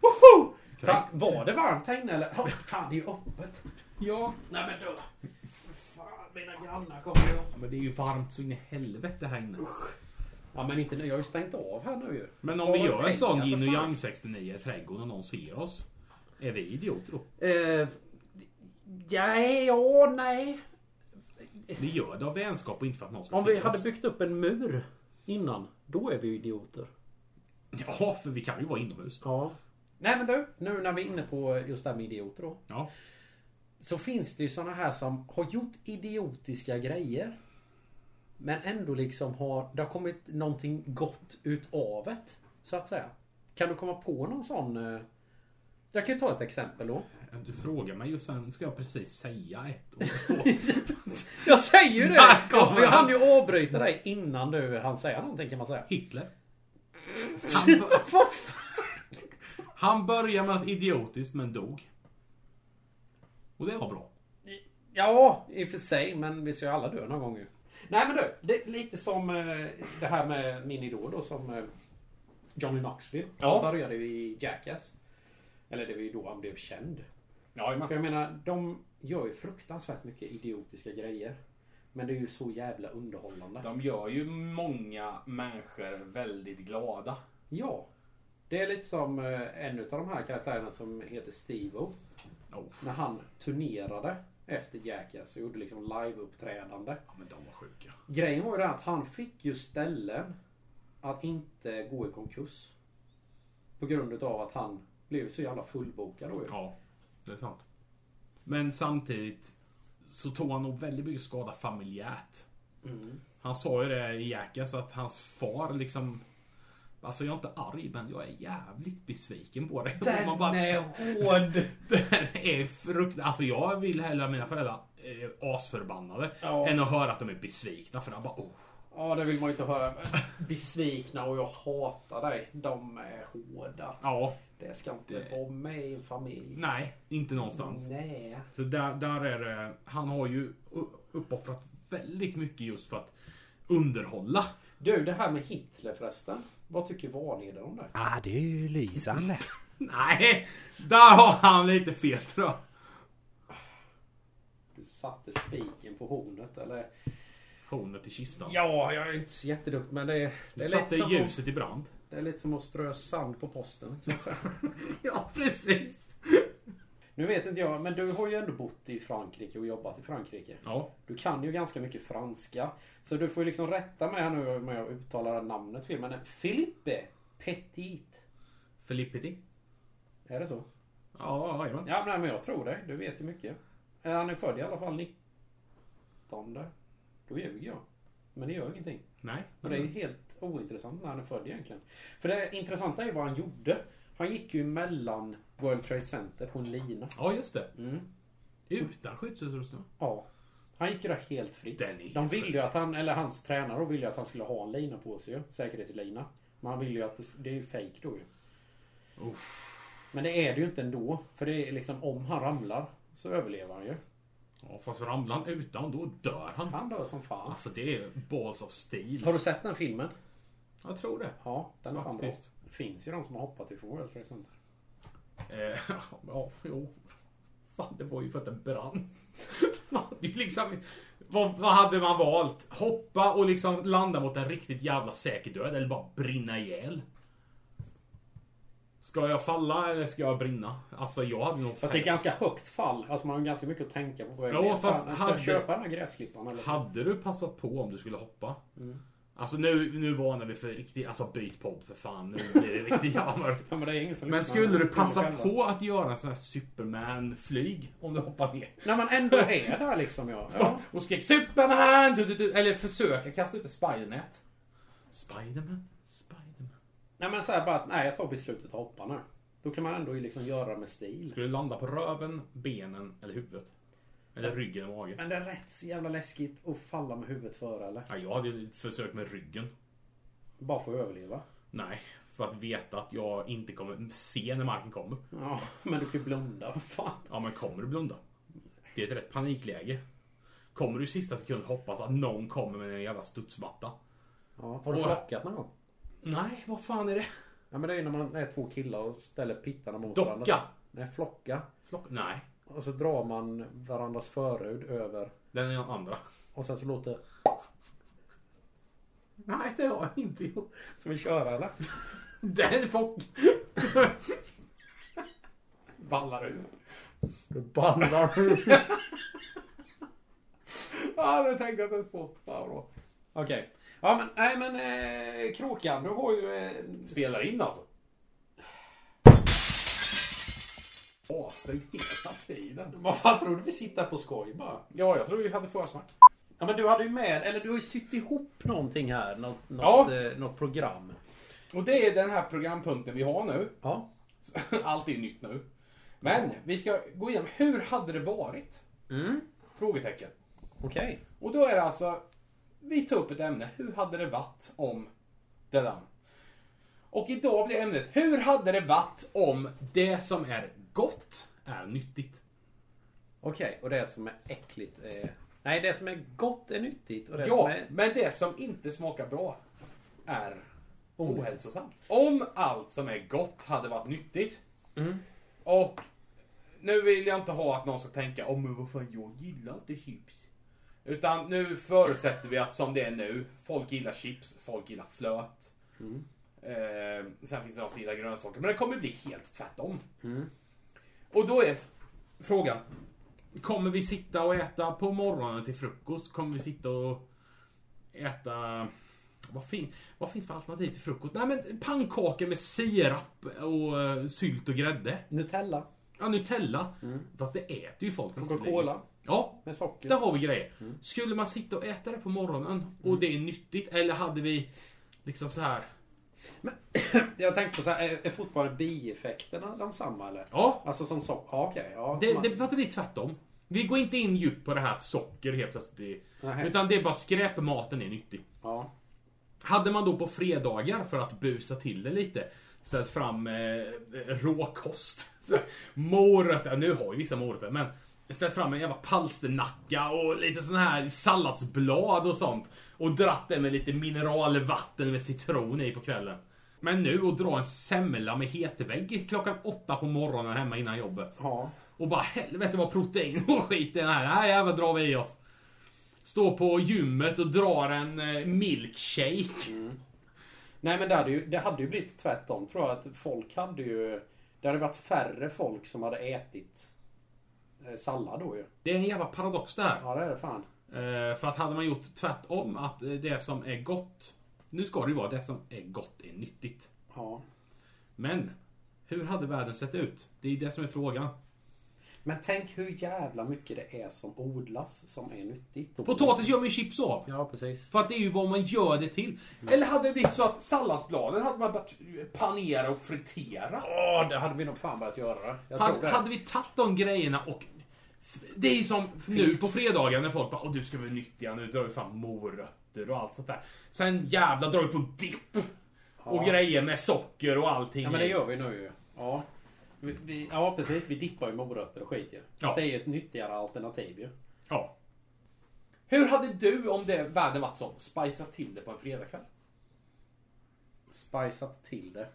Woho! Fan,
Tänk.
var det varmt här inne eller? Oh, fan det är ju öppet.
Ja.
Nej men då. Fan mina grannar kommer ju.
Men det är ju varmt så in i helvete här inne.
Ja men inte nu. Jag har ju stängt av här nu ju.
Men om vi
Spara
gör en sån
pengar,
yin
för
och
fan.
yang 69 i trädgården och någon ser oss. Är vi idioter då?
Eh, ja, ja, nej.
Vi gör det av vänskap och inte för att någon ska
Om
se
vi hade
oss.
byggt upp en mur innan. Då är vi ju idioter.
Ja, för vi kan ju vara inomhus.
Ja. Nej men du. Nu när vi är inne på just det här med idioter då.
Ja.
Så finns det ju såna här som har gjort idiotiska grejer. Men ändå liksom har det har kommit någonting gott utav det. Så att säga. Kan du komma på någon sån? eh, Jag kan ju ta ett exempel då.
Du frågar mig ju sen ska jag precis säga ett och
Jag säger ju det!
Där kommer
Jag, jag hann
han.
ju avbryta dig innan du hann säga någonting kan man säga.
Hitler. Han, bör- han började med att idiotiskt men dog. Och det var bra.
Ja, i och för sig. Men vi ska ju alla dö någon gång ju. Nej men du, det är lite som eh, det här med min idol då som eh, Johnny Knoxville.
Ja.
Han började ju i Jackass. Eller det var ju då han blev känd. Ja, för jag menar, de gör ju fruktansvärt mycket idiotiska grejer. Men det är ju så jävla underhållande.
De gör ju många människor väldigt glada.
Ja. Det är lite som eh, en av de här karaktärerna som heter Steve-O.
Oh.
När han turnerade efter Jackass och gjorde liksom liveuppträdande.
Ja men de var sjuka.
Grejen var ju det att han fick ju ställen att inte gå i konkurs. På grund utav att han blev så jävla fullbokad då ju.
Ja, det är sant. Men samtidigt så tog han nog väldigt mycket skada familjärt. Han sa ju det i Jackass att hans far liksom... Alltså jag är inte arg men jag är jävligt besviken på dig. Och man bara-
hård!
Den är fruktansvärt. Alltså jag vill hellre att mina föräldrar är asförbannade.
Ja.
Än att höra att de är besvikna för de bara oh.
Ja, det vill man ju inte höra. Men Besvikna och jag hatar dig. De är hårda.
Ja.
Det ska inte
Det-
vara med i en familj.
Nej, inte någonstans.
Nej.
Så där, där är det. Han har ju u- uppoffrat väldigt mycket just för att underhålla.
Du, det här med Hitler förresten. Vad tycker valledaren om det?
Ja, det är ju lysande.
Nej, där har han lite fel tror jag.
Du satte spiken på hornet eller?
Hornet i kistan.
Ja, jag är inte så jätteduktig men det är... Det
Du
är
satte
som
ljuset i brand.
Att, det är lite som att strö sand på posten. så att säga.
Ja, precis.
nu vet inte jag, men du har ju ändå bott i Frankrike och jobbat i Frankrike.
Ja.
Du kan ju ganska mycket franska. Så du får ju liksom rätta mig här nu med att uttala det här namnet fel. Men eh, Philippe Petit.
Filippiti.
Är det så?
Ja, jajamän.
Ja, nej, men jag tror det. Du vet ju mycket. Eh, Han är född i alla fall 19. Då ljuger jag. Men det gör ingenting.
Nej.
Och det är ju helt ointressant när han är född egentligen. För det intressanta är ju vad han gjorde. Han gick ju mellan World Trade Center på en lina.
Ja, just det.
Mm.
Utan skyddsutrustning.
Ja. Han gick ju där helt fritt.
Den är helt
De ville ju att han, eller hans tränare ville ju att han skulle ha en lina på sig ju. Säkerhetslina. Men han ville ju att det, det är ju fake då ju. Men det är det ju inte ändå. För det är liksom om han ramlar så överlever han ju.
Ja, fast ramlar han utan då dör han.
Han dör som fan.
Alltså det är balls of steel.
Har du sett den filmen?
Jag tror det.
Ja, den är fan bra.
Faktiskt.
Det finns ju de som har hoppat ifrån World Trade Center.
Eh, ja, jo. Fan, det var ju för att den brann. Fan, det är ju liksom, vad, vad hade man valt? Hoppa och liksom landa mot en riktigt jävla säker död eller bara brinna ihjäl? Ska jag falla eller ska jag brinna? Alltså jag hade nog...
Fast det är ganska högt fall. Alltså man har ganska mycket att tänka på. på vägen
Ja,
ner.
fast
Fan, ska
hade-
jag köpa den här gräsklipparen eller? så?
Hade du passat på om du skulle hoppa?
Mm.
Alltså nu, nu varnar vi för riktigt... Alltså byt podd för fan. Nu blir det riktigt jävla mörkt.
Ja, men det är ingen som
Men
lyssnar.
skulle du
Själva.
passa på att göra en sån här Superman-flyg? Om du hoppar ner?
När man ändå är där liksom ja. ja.
Och skrek Superman! Du, du, du, eller försöka kasta ut ett spidernät. Spiderman? Spiderman.
Nej men såhär bara att nej jag tar beslutet att hoppa nu. Då kan man ändå liksom göra det med stil.
Skulle landa på röven, benen eller huvudet? Eller ryggen och magen?
Men det är rätt så jävla läskigt att falla med huvudet före eller?
Ja, jag hade ju försökt med ryggen.
Bara för att överleva.
Nej, för att veta att jag inte kommer se när marken kommer.
Ja men du kan ju blunda. Vad fan.
Ja, men kommer du blunda? Det är ett rätt panikläge. Kommer du i sista sekund hoppas att någon kommer med en jävla studsmatta?
Ja, har du
Och-
flockat någon gång?
Nej, vad fan är det?
Ja men det är ju när man är två killar och ställer pittarna mot
Docka.
varandra. Nej flocka.
Flock? Nej,
Och så drar man varandras förhud över.
den är den andra.
Och sen så låter
Nej, det har jag inte gjort.
Ska vi köra eller?
Den fock!
Ballar ur. Du ballar ur. ja, det tänkte jag inte ens på. Fan bra. Okej. Ja, men nej, men eh, Kråkan, du har ju... Eh,
Spelar in alltså. Avstängd hela tiden.
Vad fan tror du vi sitter på skoj bara?
Ja, jag tror vi hade försnack.
Ja, men du hade ju med... Eller du har ju sytt ihop någonting här. Något, något,
Ja.
eh, något program.
Och det är den här programpunkten vi har nu.
Ja.
Allt är nytt nu. Men vi ska gå igenom, hur hade det varit?
Mm.
Frågetecken.
Okej.
Och då är det alltså, vi tar upp ett ämne, hur hade det varit om det där? Och idag blir ämnet, hur hade det varit om det som är gott är nyttigt?
Okej, och det som är äckligt är... Nej, det som är gott är nyttigt. Och det som
Ja,
är...
men det som inte smakar bra är ohälsosamt. Om allt som är gott hade varit nyttigt. Och nu vill jag inte ha att någon ska tänka om men vad fan jag gillar inte chips. Utan nu förutsätter vi att som det är nu, folk gillar chips, folk gillar flöt. Eh, sen finns det de som gillar grönsaker, men det kommer bli helt tvärtom. Och då är f- frågan, Kommer vi sitta och äta på morgonen till frukost? Kommer vi sitta och äta... Vad, fin, vad finns för alternativ till frukost? Nej men pannkakor med sirap och eh, sylt och grädde.
Nutella.
Ja, Nutella. Fast det äter ju folk.
Mm. Coca-Cola. Mm.
Ja,
Med socker.
där har vi grejer. Skulle man sitta och äta det på morgonen
Mm.
och det är nyttigt? Eller hade vi liksom så här...
Jag tänkte så här, är, är fortfarande bieffekterna de samma eller?
Ja,
Alltså som så, ja okej. ja,
det,
man-
det, för att det blir tvärtom. Vi går inte in djupt på det här att socker helt plötsligt är, Utan det är bara skräpmaten är nyttig. Hade man då på fredagar för att busa till det lite ställt fram eh, råkost. Så, morötter, nu har ju vissa morötter men ställt fram en jävla palsternacka och lite sån här salladsblad och sånt. Och dratt det med lite mineralvatten med citron i på kvällen. Men nu att dra en semla med hetvägg klockan åtta på morgonen hemma innan jobbet. Och bara helvete vad protein och skit i den här. Det här jävla drar vi i oss. Står på gymmet och drar en eh, milkshake.
Nej men det hade, ju, det hade ju blivit tvärtom tror jag. Att folk hade ju... Det hade varit färre folk som hade ätit eh, sallad då ju.
Det är en jävla paradox det här.
Ja det är det fan.
Eh, För att hade man gjort tvärtom, att eh, det som är gott... Nu ska det ju vara det som är gott är nyttigt.
Ja.
Men, hur hade världen sett ut? Det är ju det som är frågan.
Men tänk hur jävla mycket det är som odlas som är nyttigt.
Potatis gör man ju chips av.
Ja precis.
För att det är ju vad man gör det till. Eller hade det blivit så att salladsbladen hade man börjat panera och fritera.
Åh, det hade vi nog fan börjat göra. Jag tror
Hade,
det.
hade vi tagit de grejerna och... Det är ju som nu på fredagar när folk bara Åh, du ska vara nyttiga nu drar vi fram morötter och allt sånt där. Sen jävla drar vi på dipp. Och grejer med socker och allting.
Ja men det
i.
gör vi nu ju. Ja. Vi, vi, ja precis, vi dippar ju morötter och skit ju.
Ja.
Det är ju ett nyttigare alternativ ju.
Ja. Hur hade du om det världen varit som spiceat till det på en fredagkväll?
Spiceat till det.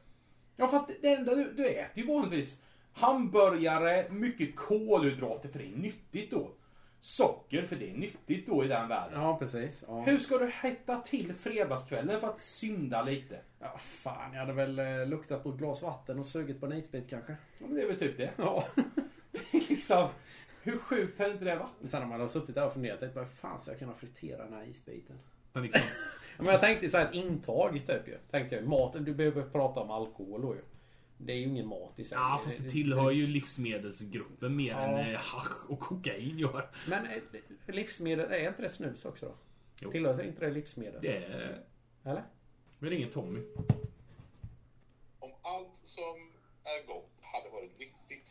Ja för att det enda du, du äter ju vanligtvis hamburgare, mycket kolhydrater för det är nyttigt då. Socker för det är nyttigt då i den världen.
Ja precis. Ja.
Hur ska du hetta till fredagskvällen för att synda lite?
Ja, fan, jag hade väl eh, luktat på ett glas vatten och sugit på en isbit kanske.
Ja, men det är väl typ det.
Ja.
Det är liksom, hur sjukt hade inte det varit?
Sen när man har suttit där och funderat lite, vad fan ska jag kunna fritera den här isbiten?
Liksom.
Ja, Men jag tänkte ju så här ett intag typ ju. Tänkte jag, maten, du behöver prata om alkohol då ju. Det är ju ingen mat i sig.
Ja fast det tillhör ju livsmedelsgruppen mer
Ja.
än eh, hasch och kokain gör.
Men eh, livsmedel, är inte det snus också då?
Jo.
Tillhör sig inte det livsmedel?
Det är...
Eller?
Vi ringer Tommy.
Om allt som är gott hade varit nyttigt.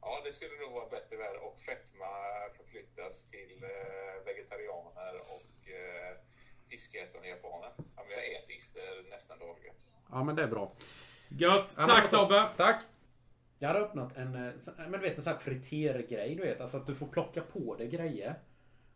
Ja, det skulle nog vara en bättre värld och fetma förflyttas till eh, vegetarianer och eh, fiskätande japaner. Ja, men jag äter ister nästan dagligen.
Ja men det är bra.
Gött!
men
Tack
alltså-
Tobbe! Tack!
Jag hade öppnat en, eh, så- men du vet en sån här fritergrej du vet. Alltså att du får plocka på dig grejer.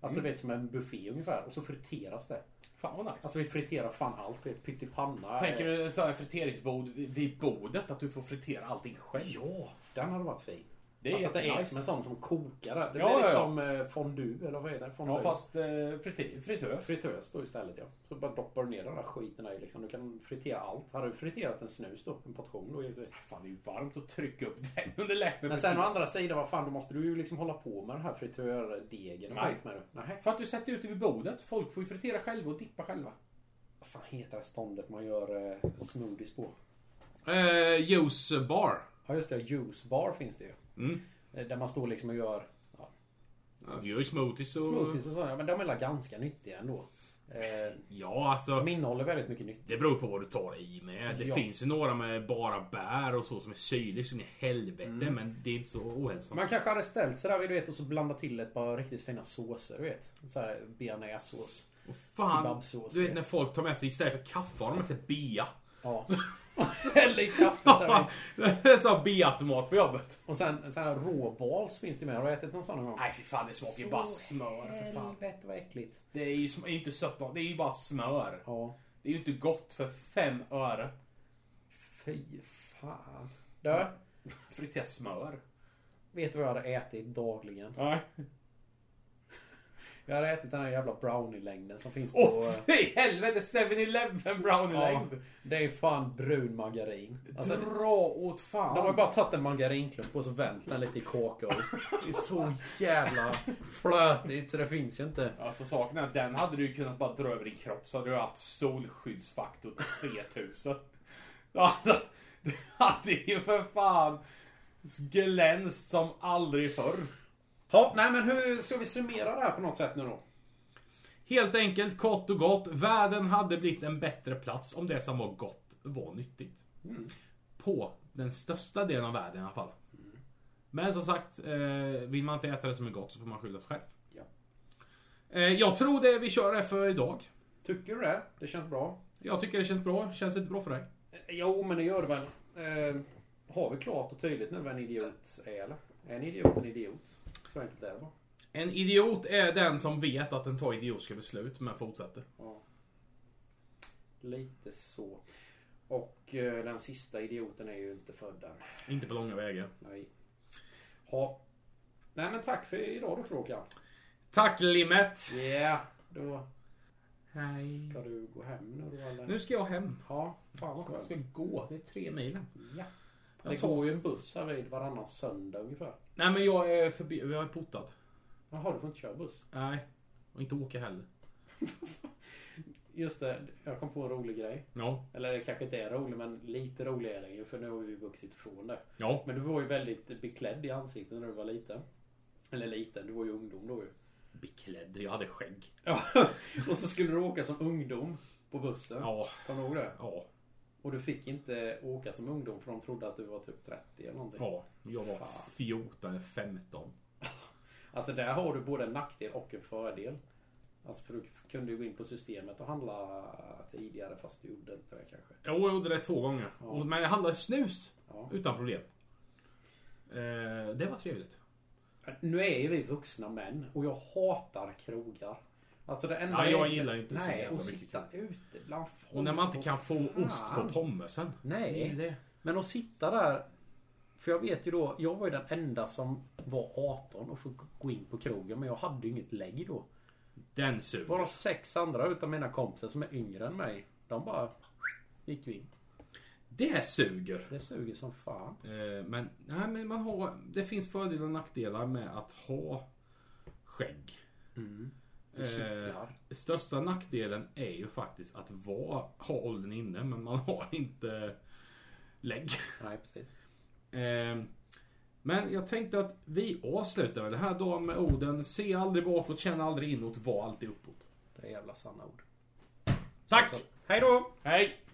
Alltså du vet som en buffé ungefär. Och så friteras det.
Fan vad nice.
Alltså vi friterar fan allt. du vet, Pyttipanna. eh.
Tänker du så här friteringsbord vid bordet? Att du får fritera allting själv?
Ja, den hade varit fin.
Det är
alltså att det är
jättenice.
som en sån som kokar där. Det
Ja,
blir
ja, ja.
liksom ja. fondue eller vad är det? Fondue.
Ja fast eh, frite- fritös.
Fritös då istället ja. Så bara doppar du ner den där skiten där i liksom. Du kan fritera allt. Hade du friterat en snus då? En portion då givetvis.
Fan det är ju varmt att trycka upp den under läppen.
Men sen å andra sidan, vad fan, då måste du ju liksom hålla på med den här fritördegen och
Nej.
skit med det. Nej.
För att du sätter ut det vid bordet. Folk får ju fritera själva och dippa själva.
Vad fan heter det ståndet man gör eh, smoothies på?
Eh, juice bar.
Ja just det, juice bar finns det ju.
Mm.
Eh, Där man står liksom och gör ja,
Ja, vi gör ju smoothies och...
smoothies och sådär. Men de är väl ganska nyttiga ändå. Eh,
Ja alltså.
de innehåller väldigt mycket nytt.
Det beror på vad du tar i med. Det
Ja.
finns ju några med bara bär och så som är syrlig som i helvete. Mm. Men det är inte så ohälsosamt.
Man kanske hade ställt sig där vid, du vet och så blandat till ett par riktigt fina såser du vet. Såhär bearnaisesås.
Och fan,
Kebabsås,
du vet
ja.
när folk tar med sig istället för kaffe har de med sig bea.
Ja. Häll i kaffet där vid.
Det är så här beaautomat på jobbet.
Och sen, sen här råbals finns det med. Har du ätit någon sån någon gång?
Nej fy fan det smakar ju bara smör för fan.
Helvete vad äckligt.
Det är ju sm- det är ju inte sött något. Det är ju bara smör.
Ja.
Det är ju inte gott för fem öre.
Fy fan. Du,
Fritera smör.
vet du vad jag hade ätit dagligen?
Nej.
Jag hade ätit den här jävla brownie-längden som finns på...
Åh fy helvete! 7-Eleven
ja,
brownie-längd.
det är fan brun margarin. Alltså,
Dra åt fan.
de har bara tagit en margarinklump och så vänt den lite i kakao. Det är så jävla flötigt så det finns ju inte.
Alltså saken är att den hade du ju kunnat bara dra över din kropp så hade du haft solskyddsfaktor 3000. Alltså, du hade ju för fan glänst som aldrig förr.
Ja, nej men hur ska vi summera det här på något sätt nu då?
Helt enkelt, kort och gott. Världen hade blivit en bättre plats om det som var Mm. Mm. gott var nyttigt. På den största delen av världen i alla fall. Men som sagt, eh, vill man inte äta det som är gott så får man skylla sig själv.
Ja.
Eh, jag tror det vi kör är för idag.
Tycker du det? Det känns bra.
Jag tycker det känns bra. Känns det inte bra för dig?
Jo, men det gör det väl. Eh, har vi klart och tydligt nu vad en idiot är eller? Är en idiot en idiot? Så enkelt är det bara.
En idiot är den som vet att den tar idiotiska beslut men fortsätter.
Ja. Lite så. Och eh, den sista idioten är ju inte född än.
Inte på långa vägar.
Nej. Ha. Nej men tack för idag då Kråkan.
Tack Limmet!
Ja, då
Hej.
ska du gå hem nu då eller?
Nu ska jag hem.
Ja, fan vad
Jag
skönt.
ska gå. Det är tre mil.
Ja.
Jag
Det
tar-
går ju en buss här vid varannan söndag ungefär.
Nej men jag är förbi. Jag är portad.
Jaha, du får inte köra buss.
Nej. Och inte åka heller.
Just det, jag kom på en rolig grej.
Ja.
Eller det kanske inte är rolig, men lite rolig är den ju för nu har vi vuxit ifrån det.
Ja.
Men du var ju väldigt beklädd i ansiktet när du var liten. Eller liten, du var ju ungdom då ju.
Beklädd. Jag hade skägg.
Ja. Och så skulle du åka som ungdom på bussen.
Ja.
Kommer du ihåg det?
Ja.
Och du fick inte åka som ungdom för de trodde att du var typ 30 eller någonting.
Ja. Jag var
Fan.
14 eller 15.
Alltså där har du både en nackdel och en fördel. Alltså för du kunde ju gå in på systemet och handla tidigare fast du gjorde inte det kanske.
Jo, jag gjorde det två gånger.
Ja.
Och- Men jag handlade snus.
Ja.
Utan problem. Eh, det var trevligt.
Nu är ju vi vuxna män och jag hatar krogar. Alltså det enda
Ja, jag
egentligen-
gillar ju inte så
Nej,
jävla
och
mycket
sitta ute bland folk.
Och när man inte kan få
fan.
ost på pommesen.
Nej.
Det är det.
Men att sitta där. För jag vet ju då, jag var ju den enda som var 18 och fick gå in på krogen. Men jag hade ju inget lägg då.
Den
Det var
suger.
de sex andra utav mina kompisar som är yngre än mig. De bara gick ju in.
Det suger.
Det suger som fan.
Eh, Men, nej, men man har, det finns fördelar och nackdelar med att ha skägg.
Mm.
Eh,
Det kittlar.
största nackdelen är ju faktiskt att vara, ha åldern inne men man har inte lägg.
Nej precis.
Eh, Men jag tänkte att vi avslutar väl det här dagen med orden Se aldrig bakåt, känn aldrig inåt, var alltid uppåt.
Det är jävla sanna ord.
Tack!
Hej då!
Hej!